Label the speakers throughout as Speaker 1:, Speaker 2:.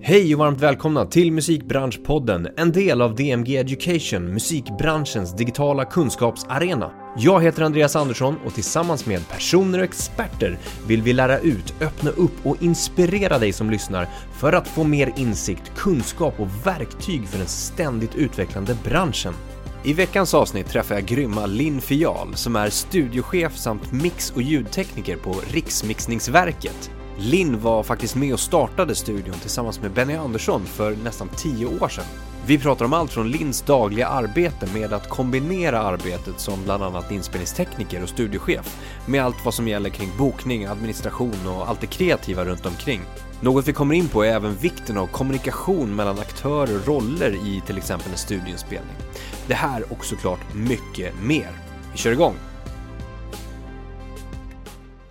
Speaker 1: Hej och varmt välkomna till Musikbranschpodden, en del av DMG Education, musikbranschens digitala kunskapsarena. Jag heter Andreas Andersson och tillsammans med personer och experter vill vi lära ut, öppna upp och inspirera dig som lyssnar för att få mer insikt, kunskap och verktyg för den ständigt utvecklande branschen. I veckans avsnitt träffar jag grymma Linn Fial som är studiochef samt mix och ljudtekniker på Riksmixningsverket. Linn var faktiskt med och startade studion tillsammans med Benny Andersson för nästan tio år sedan. Vi pratar om allt från Linns dagliga arbete med att kombinera arbetet som bland annat inspelningstekniker och studiochef med allt vad som gäller kring bokning, administration och allt det kreativa runt omkring. Något vi kommer in på är även vikten av kommunikation mellan aktörer och roller i till exempel en studioinspelning. Det här och såklart mycket mer. Vi kör igång!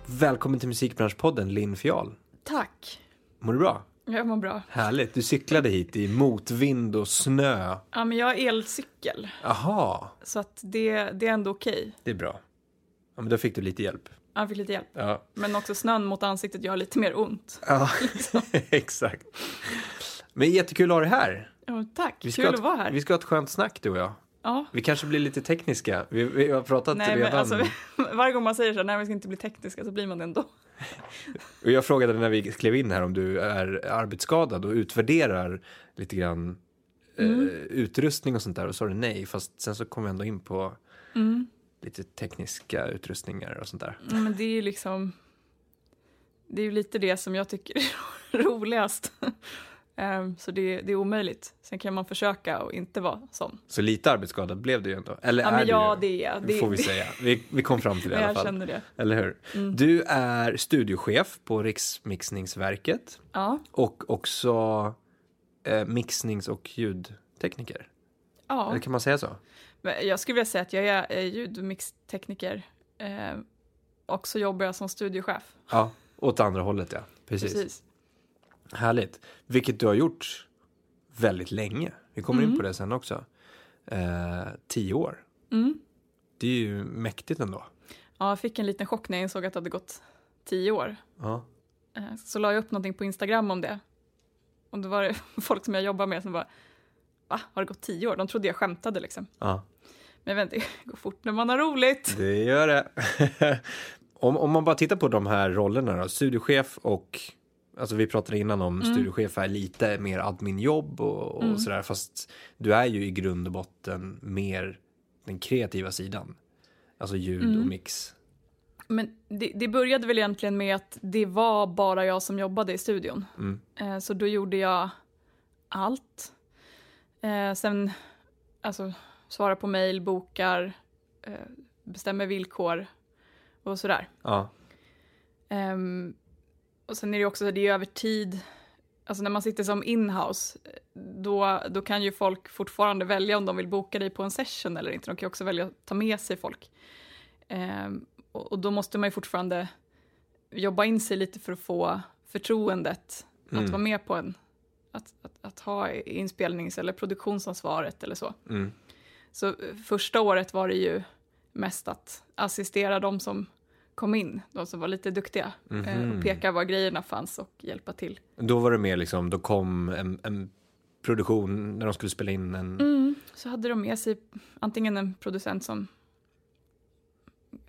Speaker 1: Välkommen till Musikbranschpodden Linn Fial.
Speaker 2: Tack.
Speaker 1: Mår du bra?
Speaker 2: Jag mår bra.
Speaker 1: Härligt, du cyklade hit i motvind och snö.
Speaker 2: Ja, men jag har elcykel,
Speaker 1: Aha,
Speaker 2: så att det, det är ändå okej.
Speaker 1: det är bra. Ja, men då fick du lite hjälp.
Speaker 2: Jag fick lite hjälp.
Speaker 1: Ja,
Speaker 2: Men också snön mot ansiktet gör lite mer ont.
Speaker 1: ja. exakt. Men jättekul att ha dig här.
Speaker 2: Ja, tack,
Speaker 1: Vi ska
Speaker 2: kul
Speaker 1: ha ett-
Speaker 2: att vara här.
Speaker 1: Vi ska ha ett skönt snack du och jag.
Speaker 2: Ja.
Speaker 1: Vi kanske blir lite tekniska. Vi, vi har pratat
Speaker 2: Nej, men
Speaker 1: redan.
Speaker 2: alltså, varje gång man säger så här, nej vi ska inte bli tekniska, så blir man det ändå.
Speaker 1: Och jag frågade när vi klev in här om du är arbetsskadad och utvärderar lite grann
Speaker 2: Mm.
Speaker 1: eh, utrustning och sånt där. Och så sa du nej, fast sen så kom vi ändå in på
Speaker 2: Mm.
Speaker 1: lite tekniska utrustningar och sånt där.
Speaker 2: Ja, Men det är ju liksom, det är ju lite det som jag tycker är roligast. Ehm, så det, det är omöjligt. Sen kan man försöka och inte vara sån.
Speaker 1: Så lite arbetsskadad blev du ju ändå. Eller
Speaker 2: Ja,
Speaker 1: är
Speaker 2: men ja,
Speaker 1: du
Speaker 2: det är jag.
Speaker 1: det,
Speaker 2: Det,
Speaker 1: får vi säga. Vi, vi kom fram till det i alla
Speaker 2: jag
Speaker 1: fall.
Speaker 2: känner Mm. det.
Speaker 1: Eller hur? Du är studiochef på Riksmixningsverket
Speaker 2: Ja,
Speaker 1: och också eh, mixnings och ljudtekniker.
Speaker 2: ja.
Speaker 1: Eller kan man säga så?
Speaker 2: Men Jag skulle vilja säga att jag är eh, ljudmixtekniker eh, och så jobbar jag som studiochef.
Speaker 1: Ja, åt andra hållet ja. Precis.
Speaker 2: Precis.
Speaker 1: Härligt. Vilket du har gjort väldigt länge. Vi kommer in på det sen också. Eh, tio år.
Speaker 2: Mm.
Speaker 1: Det är ju mäktigt ändå.
Speaker 2: Ja, jag fick en liten chock när jag insåg att det hade gått tio år.
Speaker 1: Ja.
Speaker 2: Eh, så la jag upp någonting på Instagram om det. Och då var det folk som jag jobbar med som bara Va? Har det gått tio år? De trodde jag skämtade liksom.
Speaker 1: ja.
Speaker 2: Men vänta, det går fort när man har roligt.
Speaker 1: Det gör det. om, om man bara tittar på de här rollerna då. Studiochef och, alltså vi pratade innan om
Speaker 2: Mm.
Speaker 1: studiochef är lite mer adminjobb och, och sådär. Fast du är ju i grund och botten mer den kreativa sidan. Alltså ljud
Speaker 2: Mm.
Speaker 1: och mix.
Speaker 2: Men det, det började väl egentligen med att det var bara jag som jobbade i studion.
Speaker 1: Mm.
Speaker 2: Eh, Så då gjorde jag allt. Eh, Sen alltså, svara på mejl, bokar, eh, bestämmer villkor och sådär.
Speaker 1: Ja,
Speaker 2: Ehm, Och sen är det ju också så här, det är ju över tid. Alltså när man sitter som inhouse, eh, då, då kan ju folk fortfarande välja om de vill boka dig på en session eller inte. De kan ju också välja att ta med sig folk. Ehm, Och, och då måste man ju fortfarande jobba in sig lite för att få förtroendet
Speaker 1: Mm.
Speaker 2: att vara med på en, att, att, att ha inspelnings eller produktionsansvaret eller så.
Speaker 1: mm.
Speaker 2: Så eh, första året var det ju mest att assistera de som kom in, de som var lite duktiga, eh,
Speaker 1: Mhm.
Speaker 2: och peka var grejerna fanns och hjälpa till.
Speaker 1: Då var det mer liksom, då kom en, en produktion när de skulle spela in en...
Speaker 2: Mm. Så hade de med sig antingen en producent som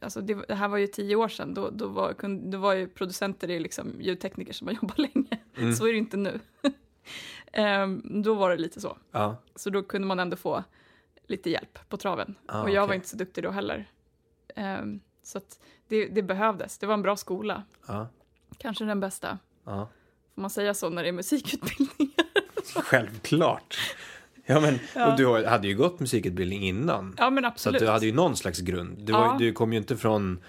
Speaker 2: Alltså det, det här var ju tio år sedan, då, då, var, kun, då var ju producenter det är liksom ljudtekniker som har jobbat länge. Så är det ju inte nu. Ehm, då var det lite så.
Speaker 1: Ja,
Speaker 2: Så då kunde man ändå få lite hjälp på traven.
Speaker 1: Ah,
Speaker 2: och jag var
Speaker 1: okej.
Speaker 2: inte så duktig då heller. Ehm, så att det, det behövdes. Det var en bra skola.
Speaker 1: ja,
Speaker 2: Kanske den bästa.
Speaker 1: ja.
Speaker 2: Får man säga så när det är musikutbildningar?
Speaker 1: Självklart. Ja, men
Speaker 2: Ja.
Speaker 1: Och du har- hade ju gått musikutbildning innan.
Speaker 2: ja, men
Speaker 1: så att
Speaker 2: absolut.
Speaker 1: du hade ju någon slags grund. Du, var, ju-
Speaker 2: Ja.
Speaker 1: du kom ju inte från,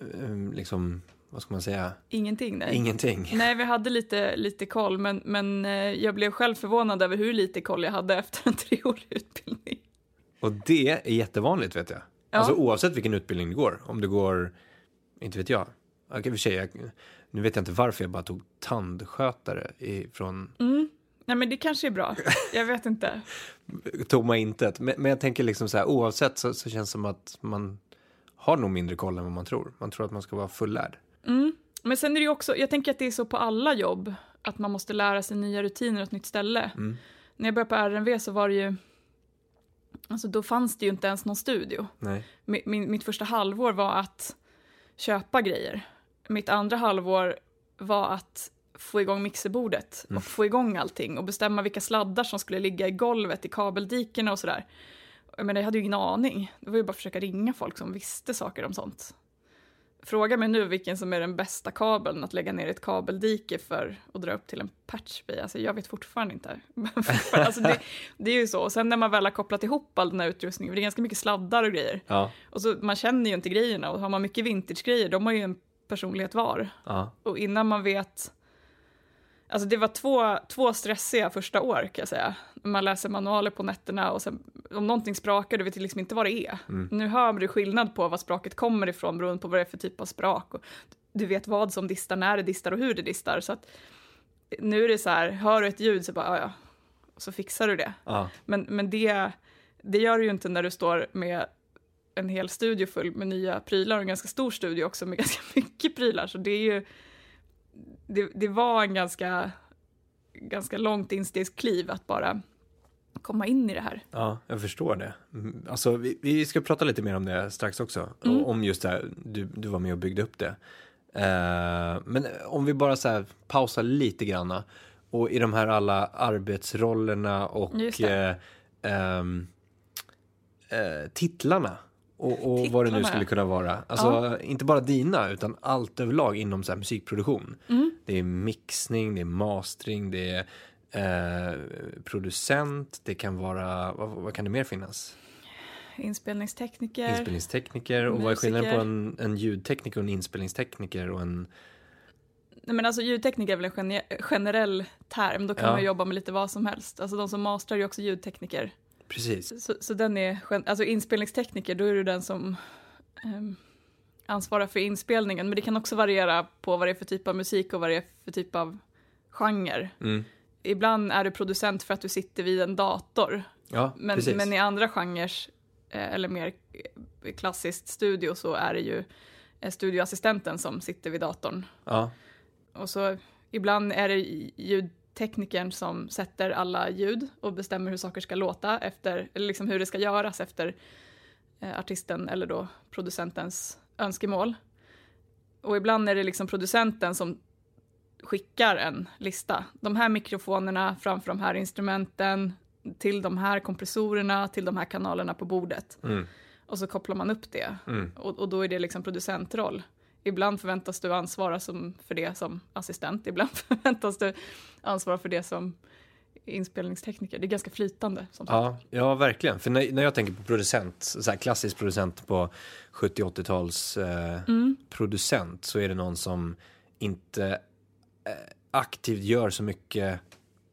Speaker 1: eh, liksom, vad ska man säga,
Speaker 2: Ingenting, nej.
Speaker 1: ingenting.
Speaker 2: Nej, vi hade lite, lite koll, men, men eh, jag blev själv förvånad över hur lite koll jag hade efter en treårig utbildning.
Speaker 1: Och det är jättevanligt vet jag.
Speaker 2: Ja.
Speaker 1: Alltså oavsett vilken utbildning du går. Om du går, inte vet jag. Okej, i och för sig, jag, nu vet jag inte varför jag bara tog tandskötare i- från
Speaker 2: Mm. Nej, men det kanske är bra. Jag vet inte.
Speaker 1: tomma intet. Men, men jag tänker liksom så här, oavsett så, så känns det som att man har nog mindre koll än vad man tror. Man tror att man ska vara fullärd.
Speaker 2: Men sen är det ju också, jag tänker att det är så på alla jobb. att man måste lära sig nya rutiner och ett nytt ställe. När jag började på RNV så var det ju, alltså då fanns det ju inte ens någon studio.
Speaker 1: Nej.
Speaker 2: Mi- min, mitt första halvår var att köpa grejer. Mitt andra halvår var att få igång mixerbordet och få igång allting och bestämma vilka sladdar som skulle ligga i golvet, i kabeldiken och sådär. Men jag hade ju ingen aning. Det var ju bara att försöka ringa folk som visste saker om sånt. Fråga mig nu vilken som är den bästa kabeln att lägga ner i ett kabeldike för att dra upp till en patchby. Alltså jag vet fortfarande inte. alltså det, det är ju så. Och sen när man väl har kopplat ihop all den här utrustningen, för det är ganska mycket sladdar och grejer.
Speaker 1: Ja.
Speaker 2: Och så, man känner ju inte grejerna och har man mycket vintagegrejer, de har ju en personlighet var.
Speaker 1: Ja.
Speaker 2: Och innan man vet... Alltså det var två, två stressiga första år kan jag säga. Man läser manualer på nätterna och sen om någonting sprakar, du vet liksom inte vad det är. Nu hör du skillnad på vad spraket kommer ifrån beroende på vad det är för typ av sprak. Och du vet vad som distar, när det distar och hur det distar. Så att nu är det så här, hör du ett ljud så bara, "Ja, ja, och så fixar du det.
Speaker 1: Ja.
Speaker 2: Men, men det, det gör du ju inte när du står med en hel studio full med nya prylar och en ganska stor studio också med ganska mycket prylar. Så det är ju, det, det var en ganska, ganska långt instegskliv att bara komma in i det här.
Speaker 1: Ja, jag förstår det. Mm, Alltså, vi, vi ska prata lite mer om det strax också.
Speaker 2: Mm.
Speaker 1: O- Om just det här, du, du var med och byggde upp det. Eh, men om vi bara så här pausar lite granna. Och i de här alla arbetsrollerna
Speaker 2: Just
Speaker 1: och eh,
Speaker 2: det.
Speaker 1: ehm, eh, titlarna. Och, och vad det nu
Speaker 2: Titlarna,
Speaker 1: skulle
Speaker 2: ja.
Speaker 1: kunna vara. Alltså, inte bara dina, utan allt överlag inom så här musikproduktion.
Speaker 2: Mm.
Speaker 1: Det är mixning, det är mastering, det är eh, producent, det kan vara, vad, vad kan det mer finnas?
Speaker 2: Inspelningstekniker.
Speaker 1: Inspelningstekniker och vad är
Speaker 2: Eh, musiker.
Speaker 1: skillnaden på en, en ljudtekniker och en inspelningstekniker och en...
Speaker 2: Nej, men alltså, ljudtekniker är väl en gene- generell term, då kan
Speaker 1: Ja.
Speaker 2: man jobba med lite vad som helst. Alltså de som mastrar är ju också ljudtekniker.
Speaker 1: Precis.
Speaker 2: Så, så den är, gen- alltså inspelningstekniker, då är du den som ehm, ansvarar för inspelningen. Men det kan också variera på vad det är för typ av musik och vad det är för typ av genre.
Speaker 1: Mm.
Speaker 2: Ibland är du producent för att du sitter vid en dator.
Speaker 1: Ja,
Speaker 2: Men,
Speaker 1: precis.
Speaker 2: men i andra genrer, eh, eller mer eh, klassiskt studio, så är det ju eh, studioassistenten som sitter vid datorn.
Speaker 1: Ja,
Speaker 2: Och så ibland är det ljudteknikern som sätter alla ljud och bestämmer hur saker ska låta efter, eller liksom hur det ska göras efter eh, artisten eller då producentens önskemål. Och ibland är det liksom producenten som skickar en lista. De här mikrofonerna framför de här instrumenten, till de här kompressorerna, till de här kanalerna på bordet.
Speaker 1: Mm.
Speaker 2: Och så kopplar man upp det.
Speaker 1: Mm.
Speaker 2: Och, och då är det liksom producentroll. Ibland förväntas du ansvara som, för det som assistent, ibland förväntas du ansvara för det som inspelningstekniker. Det är ganska flytande. Som sagt.
Speaker 1: ja, ja verkligen. För när, när jag tänker på producent, så här klassisk producent på 70-80-tals eh,
Speaker 2: Mm.
Speaker 1: producent så är det någon som inte eh, aktivt gör så mycket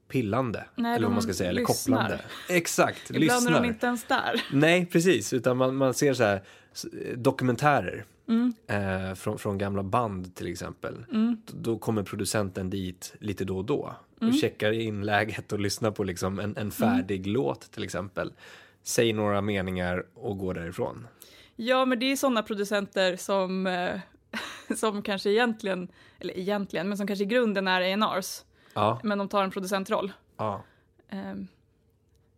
Speaker 1: pillande.
Speaker 2: Nej,
Speaker 1: eller vad
Speaker 2: de
Speaker 1: man ska säga, eller
Speaker 2: lyssnar.
Speaker 1: kopplande. Exakt,
Speaker 2: ibland
Speaker 1: lyssnar.
Speaker 2: är de inte ens där.
Speaker 1: Nej, precis. Utan man, man ser så här s- dokumentärer
Speaker 2: Mm.
Speaker 1: eh, från, från gamla band till exempel. D- Då kommer producenten dit lite då och då
Speaker 2: Mm.
Speaker 1: och checkar in läget och lyssnar på liksom en, en färdig låt till exempel. Säger några meningar och går därifrån.
Speaker 2: Ja, men det är sådana producenter som, eh, som kanske egentligen, eller egentligen, men som kanske i grunden är A&Rs,
Speaker 1: Ja,
Speaker 2: men de tar en producentroll.
Speaker 1: ja
Speaker 2: Ehm,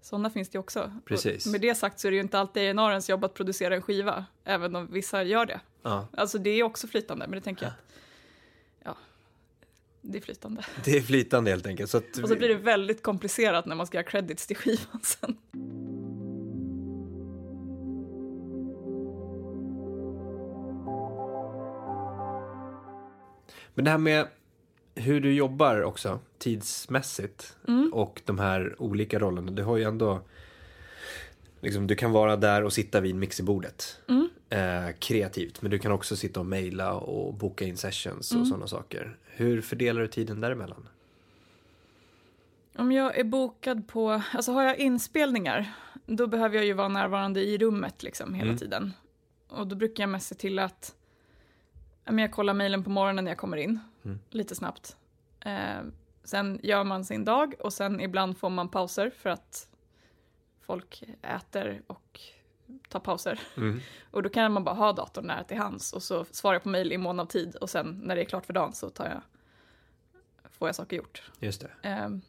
Speaker 2: Sådana finns det ju också.
Speaker 1: Precis.
Speaker 2: Och med det sagt så är det ju inte alltid A&Rens jobb att producera en skiva, även om vissa gör det.
Speaker 1: ja.
Speaker 2: Alltså det är också flytande, men det tänker jag att, ja, det är flytande.
Speaker 1: Det är flytande helt enkelt. Så att
Speaker 2: Och så blir det väldigt komplicerat när man ska göra credits till skivan sen.
Speaker 1: Men det här med hur du jobbar också tidsmässigt och de här olika rollerna. Du har ju ändå liksom, du kan vara där och sitta vid mixerbordet eh, kreativt. Men du kan också sitta och mejla och boka in sessions och sådana saker. Hur fördelar du tiden däremellan?
Speaker 2: Om jag är bokad på, alltså har jag inspelningar, då behöver jag ju vara närvarande i rummet liksom hela tiden. Och då brukar jag mest se till att, ja, men jag kollar mejlen på morgonen när jag kommer in, lite snabbt. Eh, sen gör man sin dag och sen ibland får man pauser för att folk äter och tar pauser.
Speaker 1: Mm.
Speaker 2: Och då kan man bara ha datorn nära till hands och så svarar jag på mejl i mån av tid och sen när det är klart för dagen så tar jag, får jag saker gjort.
Speaker 1: Just det.
Speaker 2: Ehm,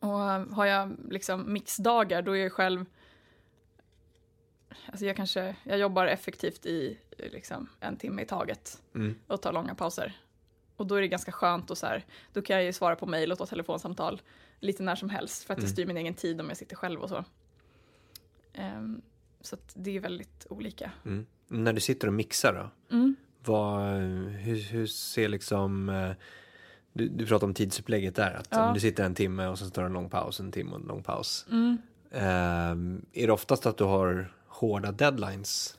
Speaker 2: och har jag liksom mixdagar, då är jag själv... Alltså jag kanske, jag jobbar effektivt i eh, liksom en timme i taget
Speaker 1: Mm.
Speaker 2: och tar långa pauser. Och då är det ganska skönt och så här, då kan jag ju svara på mejl och ta telefonsamtal lite när som helst för att jag styr min egen tid om jag sitter själv och så. Ehm, så att det är väldigt olika.
Speaker 1: Mm. När du sitter och mixar då?
Speaker 2: Mm.
Speaker 1: Vad, eh, hur, hur ser liksom... eh, Du, du pratar om tidsupplägget där. Att
Speaker 2: Ja.
Speaker 1: om du sitter en timme och sen tar du en lång paus, en timme och en lång paus.
Speaker 2: Mm.
Speaker 1: Ehm, är det oftast att du har hårda deadlines?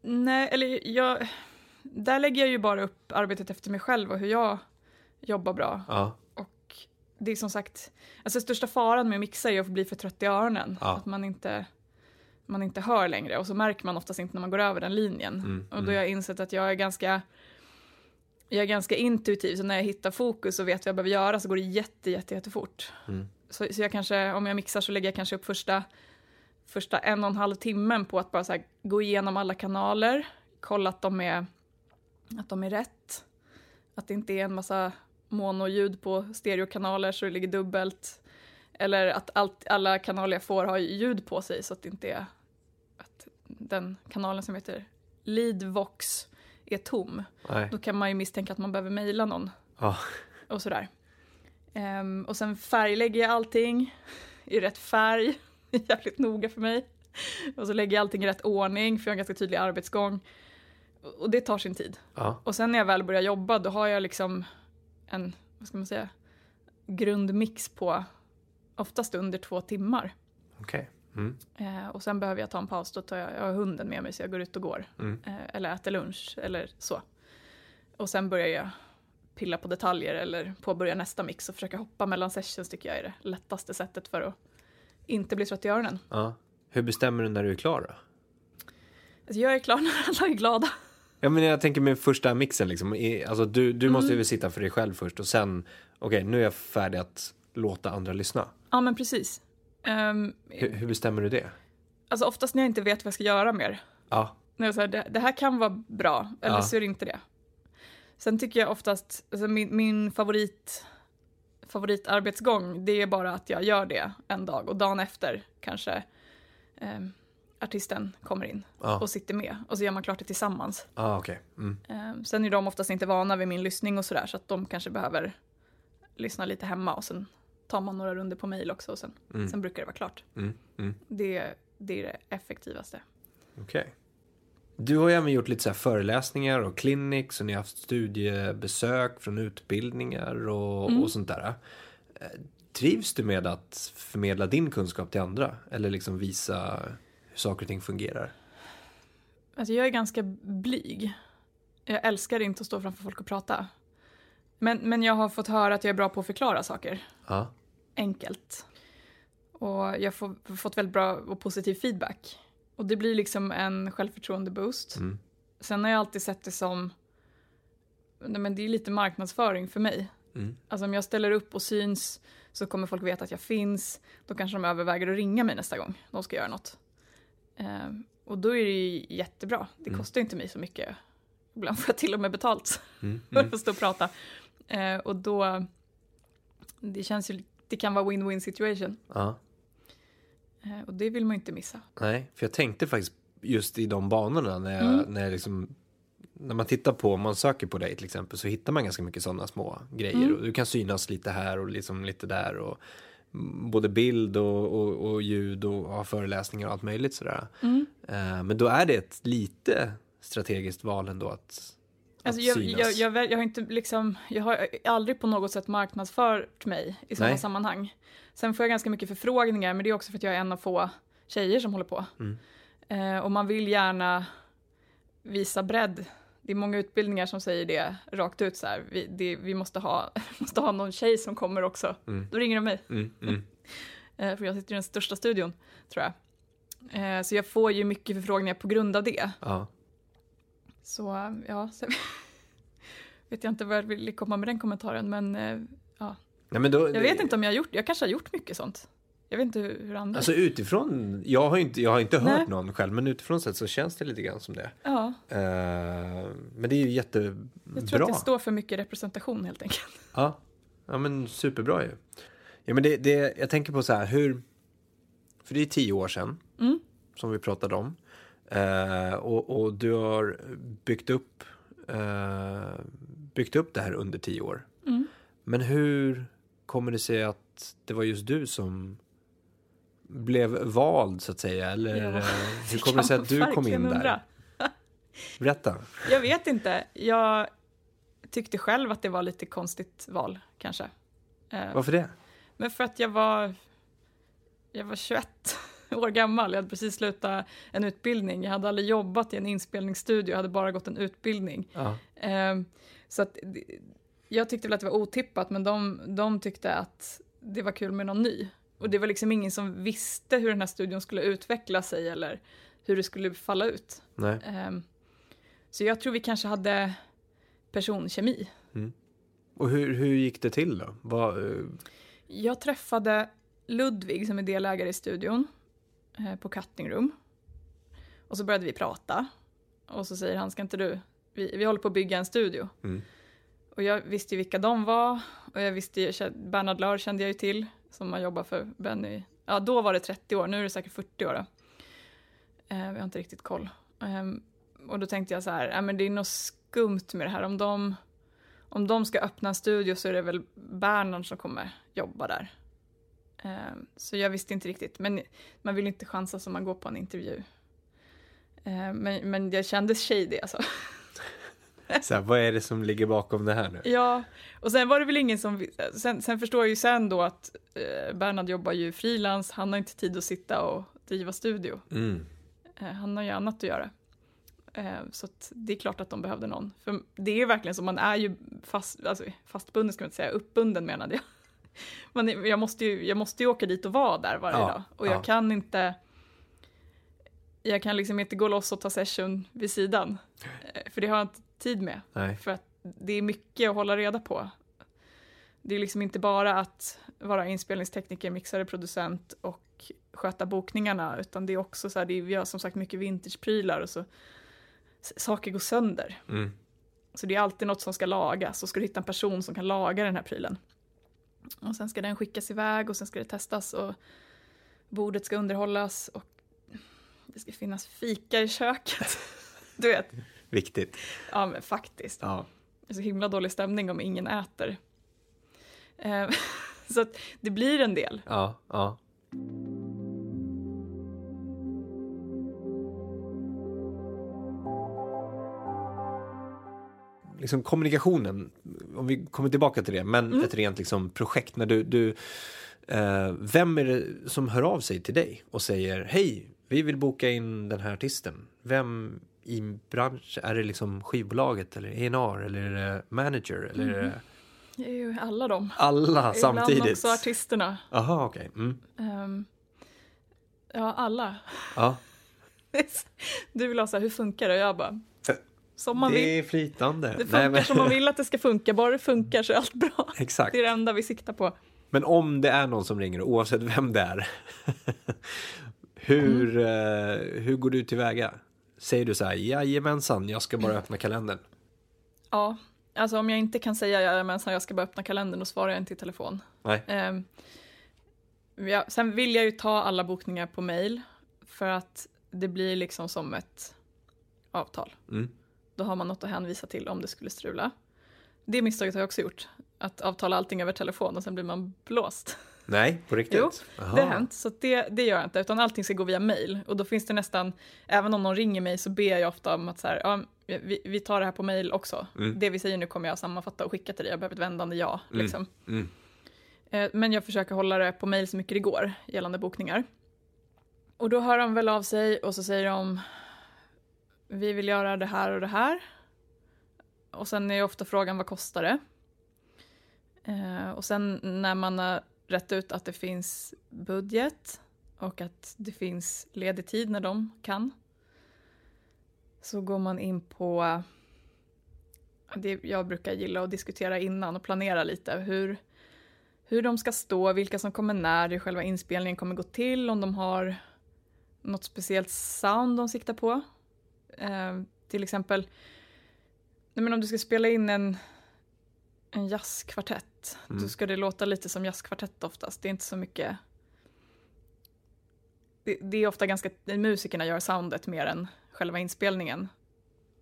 Speaker 2: Nej, eller jag... Där lägger jag ju bara upp arbetet efter mig själv och hur jag jobbar bra.
Speaker 1: Ja.
Speaker 2: Och det är som sagt, alltså största faran med att mixa är att bli för trött i öronen.
Speaker 1: Ja.
Speaker 2: Att man inte, man inte hör längre och så märker man oftast inte när man går över den linjen.
Speaker 1: Mm,
Speaker 2: och då har jag insett att jag är ganska jag är ganska intuitiv, så när jag hittar fokus och vet vad jag behöver göra så går det jätte, jätte, jättefort.
Speaker 1: Mm.
Speaker 2: Så, så jag kanske, om jag mixar så lägger jag kanske upp första, första en och en halv timmen på att bara så här, gå igenom alla kanaler, kolla att de är, att de är rätt, att det inte är en massa monoljud på stereokanaler så det ligger dubbelt. Eller att allt, alla kanaler jag får har ljud på sig så att det inte är att den kanalen som heter Leadvox är tom.
Speaker 1: Nej.
Speaker 2: Då kan man ju misstänka att man behöver mejla någon
Speaker 1: Ja.
Speaker 2: och sådär. Ehm, och sen färglägger jag allting i rätt färg, jävligt noga för mig. Och så lägger jag allting i rätt ordning för jag har en ganska tydlig arbetsgång. Och det tar sin tid.
Speaker 1: Ja.
Speaker 2: Och sen när jag väl börjar jobba då har jag liksom en, vad ska man säga, grundmix på oftast under två timmar.
Speaker 1: Okej. Mm.
Speaker 2: Eh, och sen behöver jag ta en paus, då tar jag, jag har hunden med mig så jag går ut och går.
Speaker 1: Mm.
Speaker 2: Eh, eller äter lunch eller så. Och sen börjar jag pilla på detaljer eller påbörja nästa mix och försöka hoppa mellan sessions tycker jag är det lättaste sättet för att inte bli trött i öronen.
Speaker 1: Ja. Hur bestämmer du när du är klar då?
Speaker 2: Alltså jag är klar när alla är glada.
Speaker 1: Ja, men jag tänker med första mixen liksom. I- Alltså, du
Speaker 2: Mm.
Speaker 1: du måste ju väl sitta för dig själv först och sen, okej nu är jag färdig att låta andra lyssna.
Speaker 2: Ja men precis. Ehm,
Speaker 1: Hur, hur bestämmer du det?
Speaker 2: alltså oftast när jag inte vet vad jag ska göra mer
Speaker 1: Ja.
Speaker 2: när jag säger det, det här kan vara bra, eller
Speaker 1: Ja.
Speaker 2: så är det inte det. Sen tycker jag oftast, alltså min, min favorit, favoritarbetsgång, det är bara att jag gör det en dag och dagen efter kanske eh, artisten kommer in
Speaker 1: Ja.
Speaker 2: och sitter med och så gör man klart det tillsammans.
Speaker 1: Ja, okej. Mm.
Speaker 2: Eh, sen är de oftast inte vana vid min lyssning och sådär så att de kanske behöver lyssna lite hemma och sen tar man några runder på mejl också och sen, sen brukar det vara klart.
Speaker 1: Mm. Mm.
Speaker 2: Det, det är det effektivaste.
Speaker 1: Okej. Du har ju även gjort lite så här föreläsningar och clinics och ni har haft studiebesök från utbildningar och, och sånt där. Eh, Trivs du med att förmedla din kunskap till andra? Eller liksom visa hur saker och ting fungerar?
Speaker 2: Alltså jag är ganska blyg. Jag älskar inte att stå framför folk och prata. Men, men jag har fått höra att jag är bra på att förklara saker.
Speaker 1: Ja.
Speaker 2: Enkelt. Och jag har fått väldigt bra och positiv feedback. Och det blir liksom en självförtroende-boost.
Speaker 1: Mm.
Speaker 2: Sen har jag alltid sett det som... Nej, men det är lite marknadsföring för mig.
Speaker 1: Mm.
Speaker 2: Alltså om jag ställer upp och syns så kommer folk veta att jag finns. Då kanske de överväger att ringa mig nästa gång de ska göra något. Ehm, och då är det ju jättebra. Det kostar ju inte mig så mycket. Ibland får jag till och med betalt
Speaker 1: Mm.
Speaker 2: för att stå och prata. Ehm, och då, det känns ju, det kan vara win-win situation.
Speaker 1: ja.
Speaker 2: Ehm, och det vill man ju inte missa.
Speaker 1: Nej, för jag tänkte faktiskt just i de banorna när jag,
Speaker 2: Mm.
Speaker 1: när jag liksom när man tittar på, om man söker på dig till exempel, så hittar man ganska mycket sådana små grejer.
Speaker 2: Mm.
Speaker 1: Och du kan synas lite här och liksom lite där. Och mm, både bild och, och, och ljud och ha föreläsningar och allt möjligt sådär.
Speaker 2: Mm.
Speaker 1: Eh, men då är det ett lite strategiskt val ändå att,
Speaker 2: Alltså
Speaker 1: att
Speaker 2: jag,
Speaker 1: synas.
Speaker 2: jag, jag, väl- jag, har inte liksom, jag har aldrig på något sätt marknadsfört mig i sådana
Speaker 1: Nej.
Speaker 2: sammanhang. Sen får jag ganska mycket förfrågningar, men det är också för att jag är en av få tjejer som håller på.
Speaker 1: Mm.
Speaker 2: Eh, och man vill gärna visa bredd. Det är många utbildningar som säger det rakt ut så här. Vi, det, vi måste, ha, måste ha någon tjej som kommer också. Då ringer de mig.
Speaker 1: Mm, mm,
Speaker 2: Eh, för jag sitter i den största studion, tror jag. Eh, så jag får ju mycket förfrågningar på grund av det.
Speaker 1: ja.
Speaker 2: Så ja, så vet jag inte vad jag vill komma med den kommentaren, men eh, ja.
Speaker 1: Nej, men då,
Speaker 2: Jag vet inte om jag har gjort, jag kanske har gjort mycket sånt. Jag vet inte hur, hur andra...
Speaker 1: Alltså utifrån, jag har ju inte, jag har inte
Speaker 2: Nej.
Speaker 1: hört någon själv, men utifrån sett så känns det lite grann som det.
Speaker 2: ja,
Speaker 1: Eh, men det är ju jättebra.
Speaker 2: jag tror att det står för mycket representation helt enkelt.
Speaker 1: Ja, ja men superbra ju. Ja, men det, det, jag tänker på så här, hur... För det är tio år sedan
Speaker 2: Mm.
Speaker 1: som vi pratade om. Eh, och, och du har byggt upp, eh, byggt upp det här under tio år.
Speaker 2: Mm.
Speaker 1: Men hur kommer det sig att det var just du som blev vald, så att säga? Eller
Speaker 2: Ja,
Speaker 1: eh, hur kommer det sig att du kom in
Speaker 2: Verkligen undra.
Speaker 1: där? Berätta.
Speaker 2: Jag vet inte. Jag tyckte själv att det var lite konstigt val, kanske. Eh,
Speaker 1: Varför det?
Speaker 2: Men för att jag var, jag var 21 år gammal, jag hade precis slutat en utbildning, jag hade aldrig jobbat i en inspelningsstudio, jag hade bara gått en utbildning.
Speaker 1: Ja.
Speaker 2: Ehm, så att, det- jag tyckte väl att det var otippat, men de, de tyckte att det var kul med någon ny. Och det var liksom ingen som visste hur den här studion skulle utveckla sig eller hur det skulle falla ut.
Speaker 1: Nej.
Speaker 2: Ehm, så jag tror vi kanske hade personkemi.
Speaker 1: Och hur, hur gick det till då? Vad, eh,
Speaker 2: Jag träffade Ludvig som är delägare i studion eh, på Cutting Room. Och så började vi prata. Och så säger han, ska inte du, vi, vi håller på att bygga en studio.
Speaker 1: Mm.
Speaker 2: Och jag visste ju vilka de var. Och jag visste ju, kä- Bernhard Lahr kände jag ju till, som har jobbat för Benny. Ja, då var det 30 år, nu är det säkert 40 år. Då. Eh, jag har inte riktigt koll. Ehm, och då tänkte jag så här, äh, men det är något skumt med det här. Om de, om de ska öppna en studio så är det väl Bernhard som kommer jobba där. Ehm, så jag visste inte riktigt, men man vill inte chansa som man går på en intervju. Ehm, men, men jag kändes shady alltså.
Speaker 1: så här, vad är det som ligger bakom det här nu?
Speaker 2: Ja, och sen var det väl ingen som... Sen, sen förstår jag ju sen då att eh, Bernhard jobbar ju frilans, han har inte tid att sitta och driva studio.
Speaker 1: Mm.
Speaker 2: Eh, han har ju annat att göra. Eh, så att det är klart att de behövde någon. För det är ju verkligen så, man är ju fast, alltså, fastbunden ska man inte säga, uppbunden menade jag. Man är, jag, måste ju, jag måste ju åka dit och vara där varje
Speaker 1: Ja,
Speaker 2: dag. Och jag
Speaker 1: ja.
Speaker 2: kan inte... Jag kan liksom inte gå loss och ta session vid sidan. Eh, För det har jag inte tid med.
Speaker 1: Nej.
Speaker 2: För att det är mycket att hålla reda på. Det är liksom inte bara att vara inspelningstekniker, mixare, producent och sköta bokningarna, utan det är också så här, det är, vi har som sagt mycket vintageprylar och så s- saker går sönder.
Speaker 1: Mm.
Speaker 2: Så det är alltid något som ska lagas och ska du hitta en person som kan laga den här prylen. Och sen ska den skickas iväg och sen ska det testas och bordet ska underhållas och det ska finnas fika i köket. Du vet,
Speaker 1: Viktigt.
Speaker 2: ja men faktiskt.
Speaker 1: Ja.
Speaker 2: Det är så himla dålig stämning om ingen äter. Eh, så att det blir en del.
Speaker 1: Ja, ja. Liksom kommunikationen, om vi kommer tillbaka till det, men ett rent liksom projekt när du, du eh, vem är det som hör av sig till dig och säger hej, vi vill boka in den här artisten? Vem i branschen, är det liksom skivbolaget eller ENR eller är det manager eller är det
Speaker 2: Det är ju alla dem.
Speaker 1: alla
Speaker 2: Ibland
Speaker 1: samtidigt?
Speaker 2: också artisterna.
Speaker 1: Aha, okej. Mm.
Speaker 2: Ehm, ja, alla.
Speaker 1: Ja.
Speaker 2: Du vill ha så här, hur funkar det? Och jag bara, som man vill.
Speaker 1: det är flytande.
Speaker 2: Det funkar som man vill att det ska funka. Bara det funkar så är allt bra.
Speaker 1: Exakt.
Speaker 2: Det är det enda vi siktar på.
Speaker 1: Men om det är någon som ringer, oavsett vem det är, hur,
Speaker 2: Mm.
Speaker 1: eh, hur går du tillväga? Säger du så här, jajamensan, jag ska bara öppna kalendern?
Speaker 2: Ja, alltså om jag inte kan säga jajamensan, jag ska bara öppna kalendern, då svarar jag inte i telefon.
Speaker 1: Nej.
Speaker 2: Ehm, ja, sen vill jag ju ta alla bokningar på mail för att det blir liksom som ett avtal.
Speaker 1: Mm.
Speaker 2: Då har man något att hänvisa till om det skulle strula. Det misstaget har jag också gjort, att avtala allting över telefon och sen blir man blåst.
Speaker 1: Nej, på riktigt?
Speaker 2: Jo,
Speaker 1: Aha.
Speaker 2: Det har hänt, så att det, det gör jag inte, utan allting ska gå via mail. Och då finns det nästan, även om någon ringer mig så ber jag ofta om att så här, ja, vi, vi tar det här på mail också.
Speaker 1: Mm.
Speaker 2: Det vi säger nu kommer jag sammanfatta och skicka till dig, jag behöver ett vändande ja.
Speaker 1: Mm.
Speaker 2: Liksom.
Speaker 1: Mm.
Speaker 2: Eh, Men jag försöker hålla det på mejl så mycket det går gällande bokningar. Och då hör de väl av sig och så säger de vi vill göra det här och det här. Och sen är ju ofta frågan vad kostar det? Eh, Och sen när man har rätt ut att det finns budget och att det finns ledig tid när de kan. Så går man in på det jag brukar gilla att diskutera innan och planera lite. Hur, hur de ska stå, vilka som kommer när, hur själva inspelningen kommer gå till, om de har något speciellt sound de siktar på. Eh, till exempel, nej men om du ska spela in en, en jazzkvartett,
Speaker 1: Mm.
Speaker 2: då ska det låta lite som jazzkvartett oftast. Det är inte så mycket... Det, det är ofta ganska... Musikerna gör soundet mer än själva inspelningen.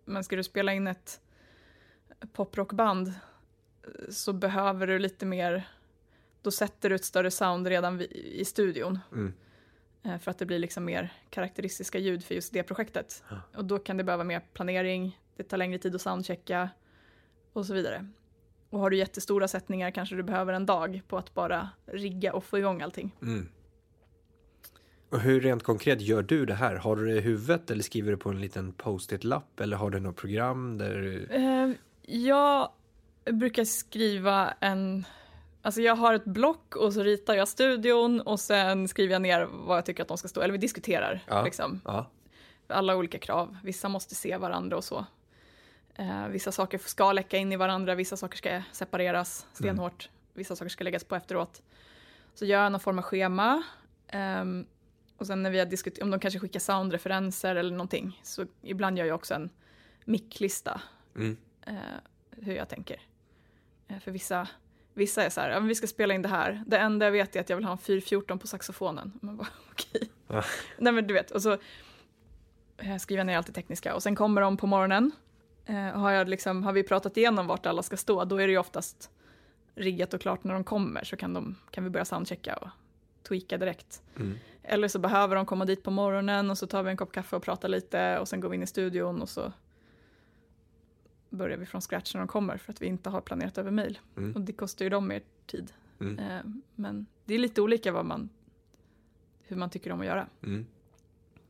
Speaker 2: Men ska du spela in ett poprockband eh, så behöver du lite mer... Då sätter du ett större sound redan vi- i studion.
Speaker 1: Mm.
Speaker 2: Eh, För att det blir liksom mer karaktäristiska ljud för just det projektet.
Speaker 1: Ja.
Speaker 2: Och då kan det behöva mer planering, det tar längre tid att soundchecka och så vidare. Och har du jättestora sättningar kanske du behöver en dag på att bara rigga och få igång allting.
Speaker 1: Mm. Och hur rent konkret gör du det här? Har du det i huvudet eller skriver du på en liten post-it-lapp eller har du något program där du...
Speaker 2: Eh, Jag brukar skriva en... Alltså jag har ett block och så ritar jag studion och sen skriver jag ner vad jag tycker att de ska stå, eller vi diskuterar
Speaker 1: Ja.
Speaker 2: liksom.
Speaker 1: Ja.
Speaker 2: alla olika krav. Vissa måste se varandra och så. Eh, vissa saker ska läcka in i varandra, vissa saker ska separeras stenhårt, vissa saker ska läggas på efteråt. Så gör jag någon form av schema. ehm, och sen när vi har diskuterat, om de kanske skickar soundreferenser eller någonting, så ibland gör jag också en micklista,
Speaker 1: Mm.
Speaker 2: eh, hur jag tänker. Eh, för vissa, vissa är så här, ja, men vi ska spela in det här. Det enda jag vet är att jag vill ha en 414 på saxofonen. Man bara, okej.
Speaker 1: Ja.
Speaker 2: Nej men du vet, och så eh, skriver jag ner allt det tekniska och sen kommer de på morgonen. Eh, har, jag liksom, har vi pratat igenom vart alla ska stå, då är det ju oftast riggat och klart när de kommer så kan, de, kan vi börja soundchecka och tweaka direkt.
Speaker 1: Mm.
Speaker 2: Eller så behöver de komma dit på morgonen och så tar vi en kopp kaffe och pratar lite och sen går vi in i studion och så börjar vi från scratch när de kommer för att vi inte har planerat över mejl.
Speaker 1: Mm.
Speaker 2: Och det kostar ju dem mer tid.
Speaker 1: Mm.
Speaker 2: Eh, Men det är lite olika vad man, hur man tycker om att göra.
Speaker 1: Mm.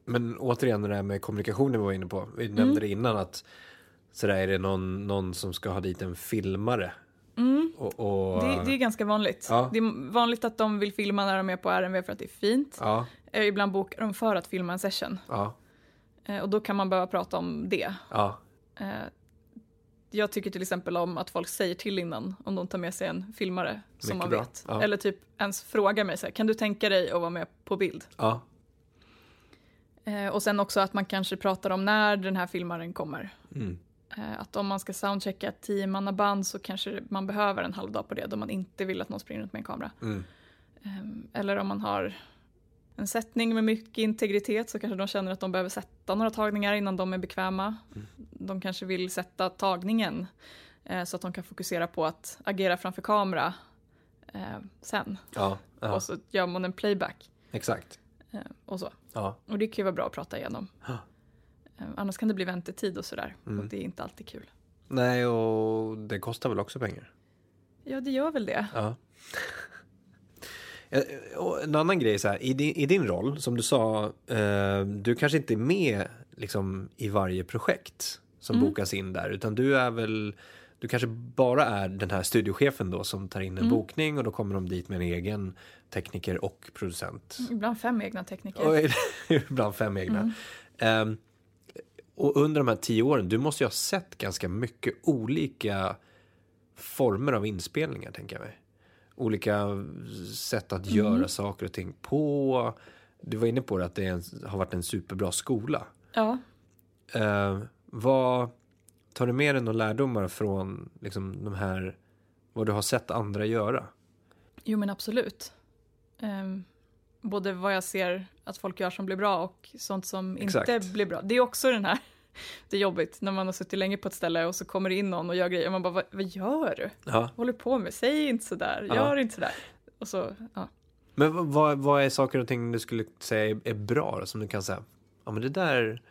Speaker 1: Men återigen det där med kommunikationen vi var inne på.
Speaker 2: Mm.
Speaker 1: Vi nämnde det innan att sådär är det någon, någon som ska ha dit en filmare. Och, och,
Speaker 2: Mm. Det, det är ganska vanligt.
Speaker 1: Ja.
Speaker 2: Det är vanligt att de vill filma när de är på RMV för att det är fint.
Speaker 1: Ja,
Speaker 2: Eh, Ibland bokar de för att filma en session.
Speaker 1: ja,
Speaker 2: Eh, Och då kan man behöva prata om det.
Speaker 1: ja.
Speaker 2: Eh, Jag tycker till exempel om att folk säger till innan om de tar med sig en filmare som
Speaker 1: Mycket
Speaker 2: man
Speaker 1: bra.
Speaker 2: vet.
Speaker 1: Ja.
Speaker 2: Eller typ ens frågar mig så här, kan du tänka dig att vara med på bild?
Speaker 1: ja.
Speaker 2: Eh, Och sen också att man kanske pratar om när den här filmaren kommer.
Speaker 1: Mm.
Speaker 2: Eh, Att om man ska soundchecka ett tiomannaband så kanske man behöver en halv dag på det då man inte vill att någon springer runt med en kamera.
Speaker 1: Mm.
Speaker 2: Ehm, Eller om man har en sättning med mycket integritet så kanske de känner att de behöver sätta några tagningar innan de är bekväma. De kanske vill sätta tagningen eh, så att de kan fokusera på att agera framför kamera eh, sen.
Speaker 1: ja, ja.
Speaker 2: Och så gör man en playback
Speaker 1: exakt.
Speaker 2: eh, och så.
Speaker 1: Ja.
Speaker 2: Och det kan ju vara bra att prata igenom.
Speaker 1: Ja.
Speaker 2: Eh, Annars kan det bli väntetid och sådär.
Speaker 1: Mm.
Speaker 2: Och det är inte alltid kul.
Speaker 1: Nej, och det kostar väl också pengar.
Speaker 2: Ja, det gör väl det.
Speaker 1: Ja. Eh, Och en annan grej så här, i din, i din roll, som du sa, eh, du kanske inte är med liksom, i varje projekt som bokas in där, utan du är väl, du kanske bara är den här studiochefen då som tar in en bokning och då kommer de dit med en egen tekniker och producent.
Speaker 2: Ibland fem egna tekniker.
Speaker 1: Och ibland fem egna. Ehm, och under de här tio åren, du måste ju ha sett ganska mycket olika former av inspelningar, tänker jag mig. Olika sätt att göra saker och ting på. Du var inne på det, att det är en, har varit en superbra skola.
Speaker 2: Ja.
Speaker 1: Ehm, vad tar du med dig några lärdomar från liksom, de här, vad du har sett andra göra?
Speaker 2: Jo men absolut. Ehm, både vad jag ser att folk gör som blir bra och sånt som inte
Speaker 1: Exakt.
Speaker 2: blir bra. Det är också den här, det är jobbigt när man har suttit länge på ett ställe och så kommer det in någon och gör grejer och man bara vad, vad gör du?
Speaker 1: Ja.
Speaker 2: Vad håller du på med? Säg inte sådär,
Speaker 1: Ja.
Speaker 2: gör inte sådär. Och så, ja.
Speaker 1: Men v- vad, vad är saker och ting du skulle säga är, är bra då, som du kan säga, ja men det där,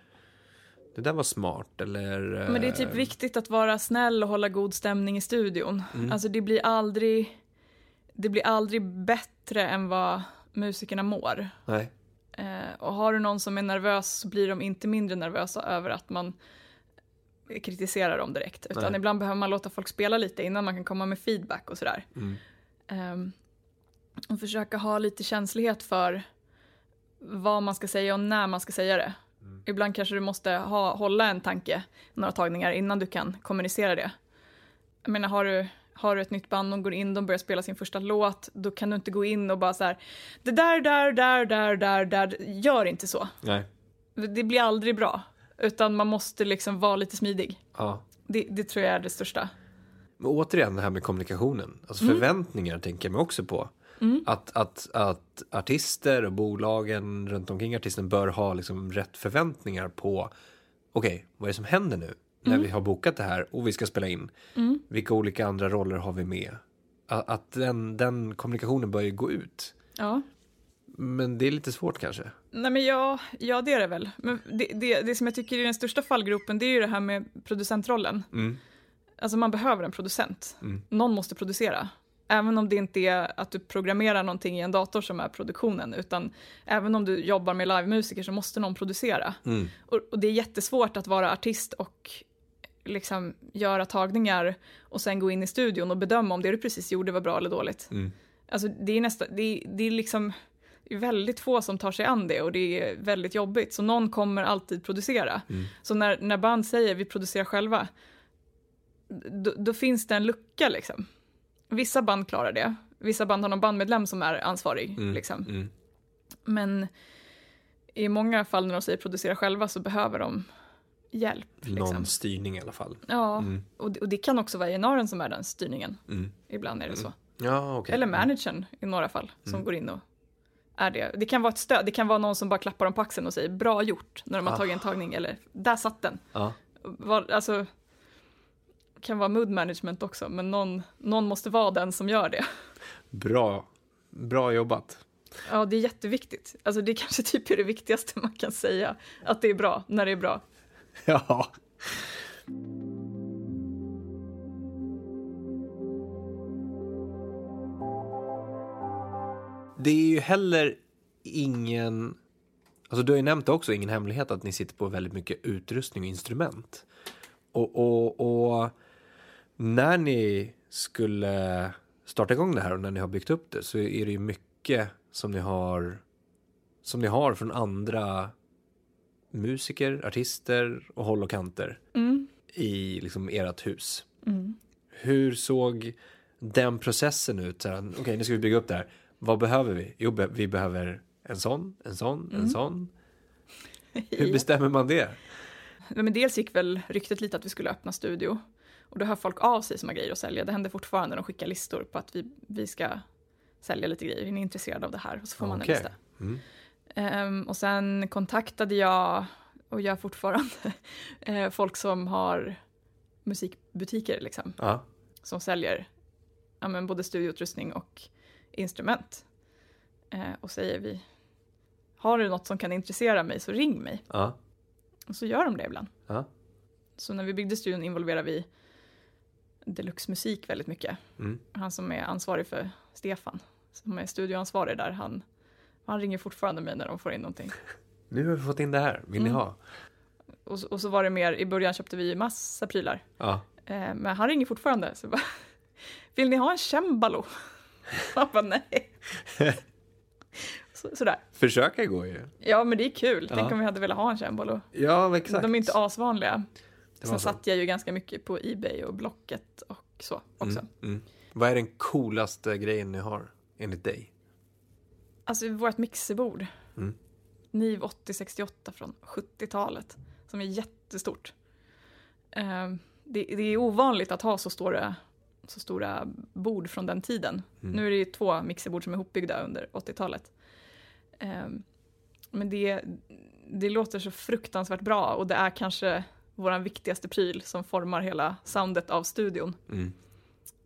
Speaker 1: det där var smart eller? eh,
Speaker 2: Men det är typ viktigt att vara snäll och hålla god stämning i studion. Alltså det blir aldrig, det blir aldrig bättre än vad musikerna mår.
Speaker 1: Nej,
Speaker 2: Eh, och har du någon som är nervös så blir de inte mindre nervösa över att man kritiserar dem direkt. Utan
Speaker 1: Nej.
Speaker 2: ibland behöver man låta folk spela lite innan man kan komma med feedback och sådär.
Speaker 1: Mm.
Speaker 2: Ehm, och försöka ha lite känslighet för vad man ska säga och när man ska säga det.
Speaker 1: Mm.
Speaker 2: Ibland kanske du måste ha, hålla en tanke några tagningar innan du kan kommunicera det. Jag menar, har du, har du ett nytt band, de går in, de börjar spela sin första låt, då kan du inte gå in och bara så här, det där, där, där, där, där, där, gör inte så.
Speaker 1: Nej.
Speaker 2: Det blir aldrig bra, utan man måste liksom vara lite smidig.
Speaker 1: Ja.
Speaker 2: Det, det tror jag är det största.
Speaker 1: Men återigen det här med kommunikationen. Alltså
Speaker 2: Mm.
Speaker 1: förväntningar tänker jag mig också på. Att, att, att artister och bolagen runt omkring artisten bör ha liksom rätt förväntningar på okej, vad är det som händer nu när
Speaker 2: Mm.
Speaker 1: vi har bokat det här och vi ska spela in? Vilka olika andra roller har vi med? A- Att den, den kommunikationen bör ju gå ut.
Speaker 2: Ja.
Speaker 1: Men det är lite svårt kanske.
Speaker 2: Nej men ja, ja det är det väl. Men det, det, det som jag tycker är den största fallgropen det är ju det här med producentrollen.
Speaker 1: Mm.
Speaker 2: Alltså man behöver en producent. Någon måste producera. Även om det inte är att du programmerar någonting i en dator som är produktionen, utan även om du jobbar med livemusiker så måste någon producera. Och, och det är jättesvårt att vara artist och liksom göra tagningar och sen gå in i studion och bedöma om det du precis gjorde var bra eller dåligt. Alltså det är nästan, det, är- det är liksom det är väldigt få som tar sig an det och det är väldigt jobbigt. Så någon kommer alltid producera. Så när, när band säger vi producerar själva, då, då finns det en lucka liksom. Vissa band klarar det. Vissa band har någon bandmedlem som är ansvarig. Liksom.
Speaker 1: mm.
Speaker 2: Men i många fall när de säger producera själva så behöver de hjälp. Liksom.
Speaker 1: Någon styrning i alla fall.
Speaker 2: Ja, och, det- och det kan också vara genaren som är den styrningen.
Speaker 1: Mm. Mm.
Speaker 2: Ibland är det så.
Speaker 1: Ja, okej.
Speaker 2: Eller managern i några fall som går in och är det. Det kan vara ett stöd, det kan vara någon som bara klappar om på axeln och säger bra gjort när de
Speaker 1: Ah.
Speaker 2: har tagit en tagning eller där satt den.
Speaker 1: Ja.
Speaker 2: Var, alltså, kan vara mood management också, men någon, någon måste vara den som gör det.
Speaker 1: Bra. Bra jobbat.
Speaker 2: Ja, det är jätteviktigt. Alltså det kanske typ är det viktigaste man kan säga, att det är bra när det är bra.
Speaker 1: Ja. Det är ju heller ingen... Alltså du har ju nämnt det också, ingen hemlighet att ni sitter på väldigt mycket utrustning och instrument. Och, och, och när ni skulle starta igång det här och när ni har byggt upp det så är det ju mycket som ni har, som ni har från andra musiker, artister och håll och kanter
Speaker 2: Mm.
Speaker 1: i liksom ert hus. Hur såg den processen ut? Så här, Okej, nu ska vi bygga upp det här. Vad behöver vi? Jo, be- vi behöver en sån, en sån,
Speaker 2: Mm.
Speaker 1: en sån. Hur bestämmer man det?
Speaker 2: Nej, Men dels gick väl ryktet lite att vi skulle öppna studio. Och då hör folk av sig som har grejer att sälja. Det händer fortfarande. De skickar listor på att vi, vi ska sälja lite grejer. Är ni intresserade av det här? Och så får man
Speaker 1: Okej.
Speaker 2: en lista.
Speaker 1: Mm.
Speaker 2: Ehm, och sen kontaktade jag, och gör fortfarande, eh, folk som har musikbutiker liksom.
Speaker 1: Ja.
Speaker 2: Som säljer ja, men både studioutrustning och instrument. Eh, och säger vi, har du något som kan intressera mig så ring mig.
Speaker 1: Ja.
Speaker 2: Och så gör de det ibland.
Speaker 1: Ja.
Speaker 2: Så när vi byggde studion involverade vi Deluxe Musik väldigt mycket.
Speaker 1: Mm.
Speaker 2: Han som är ansvarig för Stefan, som är studioansvarig där, han, han ringer fortfarande mig när de får in någonting.
Speaker 1: Nu har vi fått in det här. Vill
Speaker 2: Mm.
Speaker 1: ni ha?
Speaker 2: Och, så- och så var det mer, i början köpte vi ju massa prylar.
Speaker 1: Ja.
Speaker 2: Eh, men han ringer fortfarande. Så jag bara, Vill ni ha en cembalo? Han bara nej. Så, sådär.
Speaker 1: Försöka går ju.
Speaker 2: Ja men det är kul. Tänk
Speaker 1: Ja.
Speaker 2: om vi hade velat ha en cembalo.
Speaker 1: Ja, exakt.
Speaker 2: De är inte asvanliga.
Speaker 1: Det var
Speaker 2: Sen
Speaker 1: så.
Speaker 2: satt jag ju ganska mycket på Ebay och Blocket och så också.
Speaker 1: Mm. Mm. Vad är den coolaste grejen ni har, enligt dig?
Speaker 2: Alltså vårt mixerbord.
Speaker 1: Mm.
Speaker 2: NIV 8068 från 70-talet. Som är jättestort. Eh, det, det är ovanligt att ha så stora, så stora bord från den tiden.
Speaker 1: Mm.
Speaker 2: Nu är det ju två mixerbord som är ihopbyggda under 80-talet. Eh, men det, det låter så fruktansvärt bra och det är kanske vår viktigaste pryl som formar hela soundet av studion.
Speaker 1: Mm.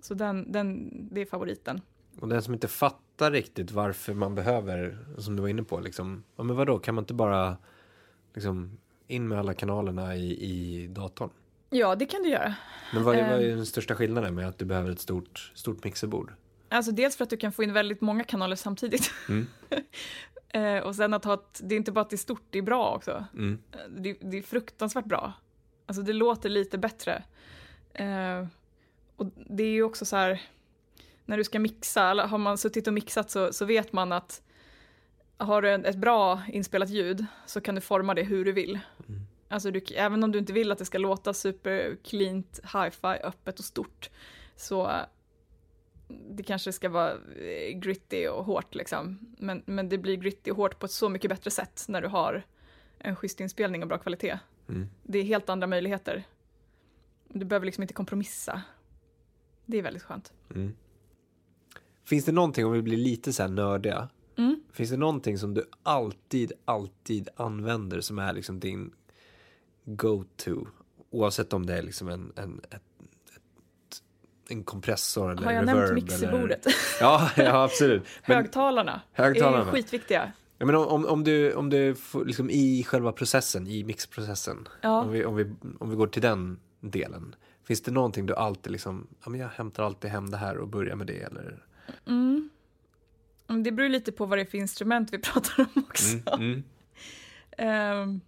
Speaker 2: Så den, den, det är favoriten.
Speaker 1: Och den som inte fattar riktigt varför man behöver, som du var inne på, liksom, ja men vadå, kan man inte bara liksom, in med alla kanalerna i, i datorn?
Speaker 2: Ja, det kan du göra.
Speaker 1: Men vad är, vad är
Speaker 2: Ehm.
Speaker 1: den största skillnaden med att du behöver ett stort, stort mixerbord?
Speaker 2: Alltså dels för att du kan få in väldigt många kanaler samtidigt.
Speaker 1: Mm.
Speaker 2: Eh, och sen att ha ett, det är inte bara att det är stort, det är bra också.
Speaker 1: Mm.
Speaker 2: Eh, Det, det är fruktansvärt bra. Alltså det låter lite bättre. Eh, och det är ju också så här, när du ska mixa, eller har man suttit och mixat så, så vet man att har du en- ett bra inspelat ljud så kan du forma det hur du vill. Alltså du, även om du inte vill att det ska låta super cleant, hi-fi, öppet och stort så eh, det kanske ska vara eh, gritty och hårt liksom. Men, men det blir gritty och hårt på ett så mycket bättre sätt när du har en schysst inspelning och bra kvalitet.
Speaker 1: Mm.
Speaker 2: Det är helt andra möjligheter. Du behöver liksom inte kompromissa. Det är väldigt skönt.
Speaker 1: Finns det någonting, om vi blir lite så här nördiga,
Speaker 2: Mm.
Speaker 1: finns det någonting som du alltid, alltid använder som är liksom din go-to? Oavsett om det är liksom en, en, ett, ett, en kompressor eller
Speaker 2: Har jag
Speaker 1: reverb.
Speaker 2: nämnt mixerbordet?
Speaker 1: Eller... Ja, ja, absolut. Men,
Speaker 2: Högtalarna, är
Speaker 1: Högtalarna.
Speaker 2: ju skitviktiga.
Speaker 1: ja, men om, om, om du, om du får, liksom i själva processen, i mixprocessen,
Speaker 2: Ja.
Speaker 1: om, vi, om, vi, om vi går till den delen. Finns det någonting du alltid liksom, ja men jag hämtar alltid hem det här och börjar med det eller?
Speaker 2: Mm. Men Det beror ju lite på vad det är för instrument vi pratar om också.
Speaker 1: Mm.
Speaker 2: Ehm,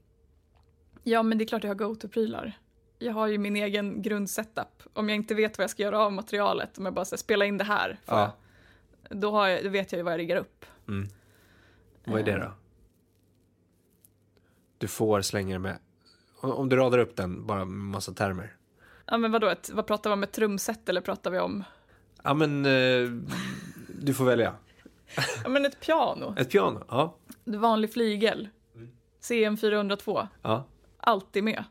Speaker 2: ja, men det är klart jag har go-to-prylar. Jag har ju min egen grundsetup. Om jag inte vet vad jag ska göra av materialet, om jag bara ska spela in det här, får
Speaker 1: Ja.
Speaker 2: jag, då, har jag, då vet jag ju vad jag riggar upp.
Speaker 1: Mm. Vad är det då? Du får slänga det med. Om om du radar upp den, bara med massa termer.
Speaker 2: Ja, men vadå, ett, vad pratar vi om, ett trumset eller pratar vi om
Speaker 1: Ja men, eh, du får välja.
Speaker 2: ja, men ett piano?
Speaker 1: Ett piano? Ja.
Speaker 2: En vanlig flygel? CM 402?
Speaker 1: ja.
Speaker 2: alltid med.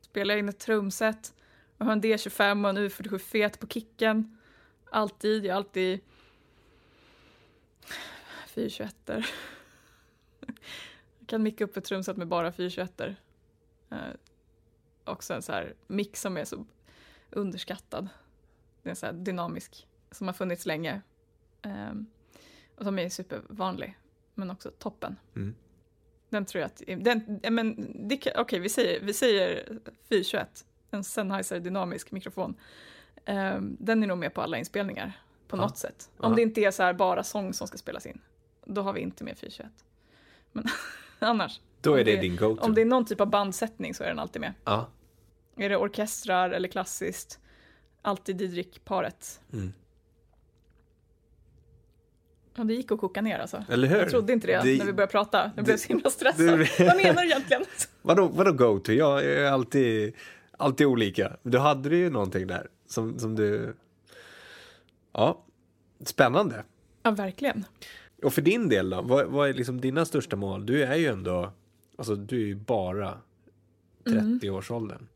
Speaker 2: Spelar in ett trumset och har en D25 och en U47 fet på kicken. Alltid, jag har alltid 421 er Jag kan micka upp ett trumset med bara 421 er Eh, Också en så här mix som är så underskattad. Den är så här dynamisk, som har funnits länge. Ehm, och som är supervanlig, men också toppen.
Speaker 1: Mm.
Speaker 2: Den tror jag att... Den, ja, men det kan- Okej, vi, säger, vi säger 421. En Sennheiser dynamisk mikrofon. Ehm, den är nog med på alla inspelningar på
Speaker 1: Ja.
Speaker 2: något sätt. Om
Speaker 1: Ja.
Speaker 2: det inte är så här bara sång som ska spelas in. Då har vi inte med 421. Men annars.
Speaker 1: Då är
Speaker 2: Om
Speaker 1: det,
Speaker 2: det-
Speaker 1: din go-to.
Speaker 2: Om det är någon typ av bandsättning så är den alltid med.
Speaker 1: Ja.
Speaker 2: Är det orkestrar eller klassiskt? Alltid Didrik-paret.
Speaker 1: Mm.
Speaker 2: Ja, det gick att koka ner alltså.
Speaker 1: Eller hur?
Speaker 2: Jag trodde inte det,
Speaker 1: Det-
Speaker 2: när vi började prata. Jag blev så himla stressad.
Speaker 1: det-
Speaker 2: Vad menar du egentligen?
Speaker 1: Vadå, vadå go-to? Jag är alltid, alltid olika. Du hade ju någonting där som, som du... Ja, spännande.
Speaker 2: Ja, verkligen.
Speaker 1: Och för din del då? Vad, vad är liksom dina största mål? Du är ju ändå, alltså du är ju bara 30-årsåldern.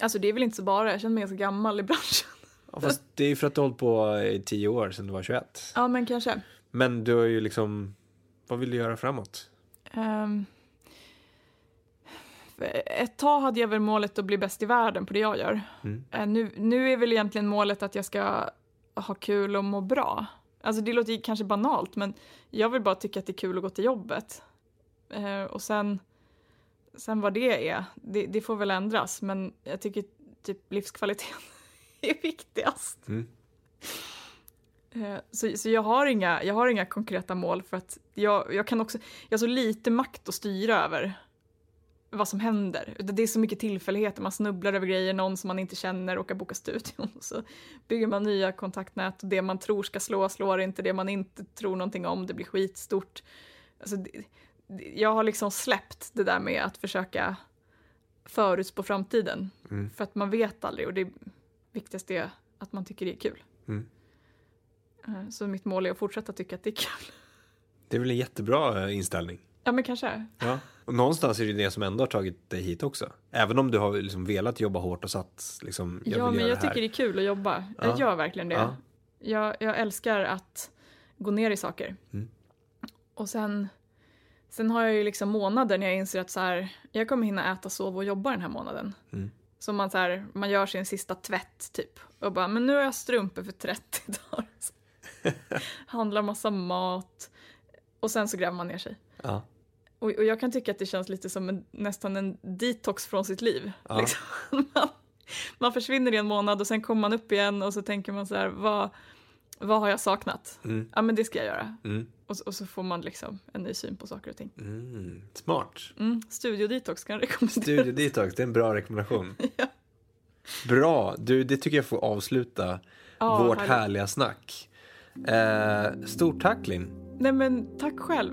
Speaker 2: Alltså det är väl inte så bara, jag känner mig ganska gammal i branschen.
Speaker 1: Ja, fast det är ju för att du har hållit på i 10 år sedan du var 21.
Speaker 2: Ja, men kanske.
Speaker 1: Men du har ju liksom, vad vill du göra framåt?
Speaker 2: Ehm, ett tag hade jag väl målet att bli bäst i världen på det jag gör.
Speaker 1: Mm.
Speaker 2: Eh, nu, nu är väl egentligen målet att jag ska ha kul och må bra. Alltså det låter ju kanske banalt men jag vill bara tycka att det är kul att gå till jobbet. Eh, och sen, sen vad det är, det, det får väl ändras men jag tycker typ livskvaliteten är viktigast.
Speaker 1: Mm.
Speaker 2: Eh, Så, så jag, har inga, jag har inga konkreta mål för att jag, jag kan också, jag har så lite makt att styra över vad som händer. Det det är så mycket tillfälligheter, man snubblar över grejer, någon som man inte känner råkar boka studion. Och så bygger man nya kontaktnät och det man tror ska slå slår inte, det man inte tror någonting om, det blir skitstort. Alltså, det, det- jag har liksom släppt det där med att försöka förutspå framtiden.
Speaker 1: Mm.
Speaker 2: För att man vet aldrig och det viktigaste är att man tycker det är kul.
Speaker 1: Mm.
Speaker 2: Eh, Så mitt mål är att fortsätta tycka att det är kul.
Speaker 1: Det är väl en jättebra eh, inställning?
Speaker 2: Ja men kanske.
Speaker 1: Ja. Och någonstans är det ju det som ändå har tagit dig hit också. Även om du har liksom velat jobba hårt och satt liksom, jag
Speaker 2: ja
Speaker 1: vill
Speaker 2: men
Speaker 1: göra
Speaker 2: jag
Speaker 1: det här.
Speaker 2: tycker det är kul att jobba.
Speaker 1: Ja.
Speaker 2: Jag gör verkligen det.
Speaker 1: Ja.
Speaker 2: Jag, jag älskar att gå ner i saker.
Speaker 1: Mm.
Speaker 2: Och sen, sen har jag ju liksom månader när jag inser att så här, jag kommer hinna äta, sova och jobba den här månaden.
Speaker 1: Mm.
Speaker 2: Så man, så här, man gör sin sista tvätt typ. Och bara, men nu har jag strumpor för 30 dagar. Så Handlar massa mat. Och sen så gräver man ner sig.
Speaker 1: Ja.
Speaker 2: Och, och jag kan tycka att det känns lite som en, nästan en detox från sitt liv.
Speaker 1: Ja.
Speaker 2: Liksom. Man, man försvinner i en månad och sen kommer man upp igen och så tänker man så här, vad, vad har jag saknat?
Speaker 1: Mm.
Speaker 2: Ja men det ska jag göra.
Speaker 1: Mm.
Speaker 2: Och, så- och så får man liksom en ny syn på saker och ting.
Speaker 1: Mm. Smart.
Speaker 2: Mm, studiodetox kan jag rekommendera.
Speaker 1: Studiedetox, det är en bra rekommendation.
Speaker 2: Ja.
Speaker 1: Bra, du, det tycker jag får avsluta
Speaker 2: Ja,
Speaker 1: vårt
Speaker 2: härligt.
Speaker 1: härliga snack. Eh, stort tack Linn.
Speaker 2: Nej men tack själv.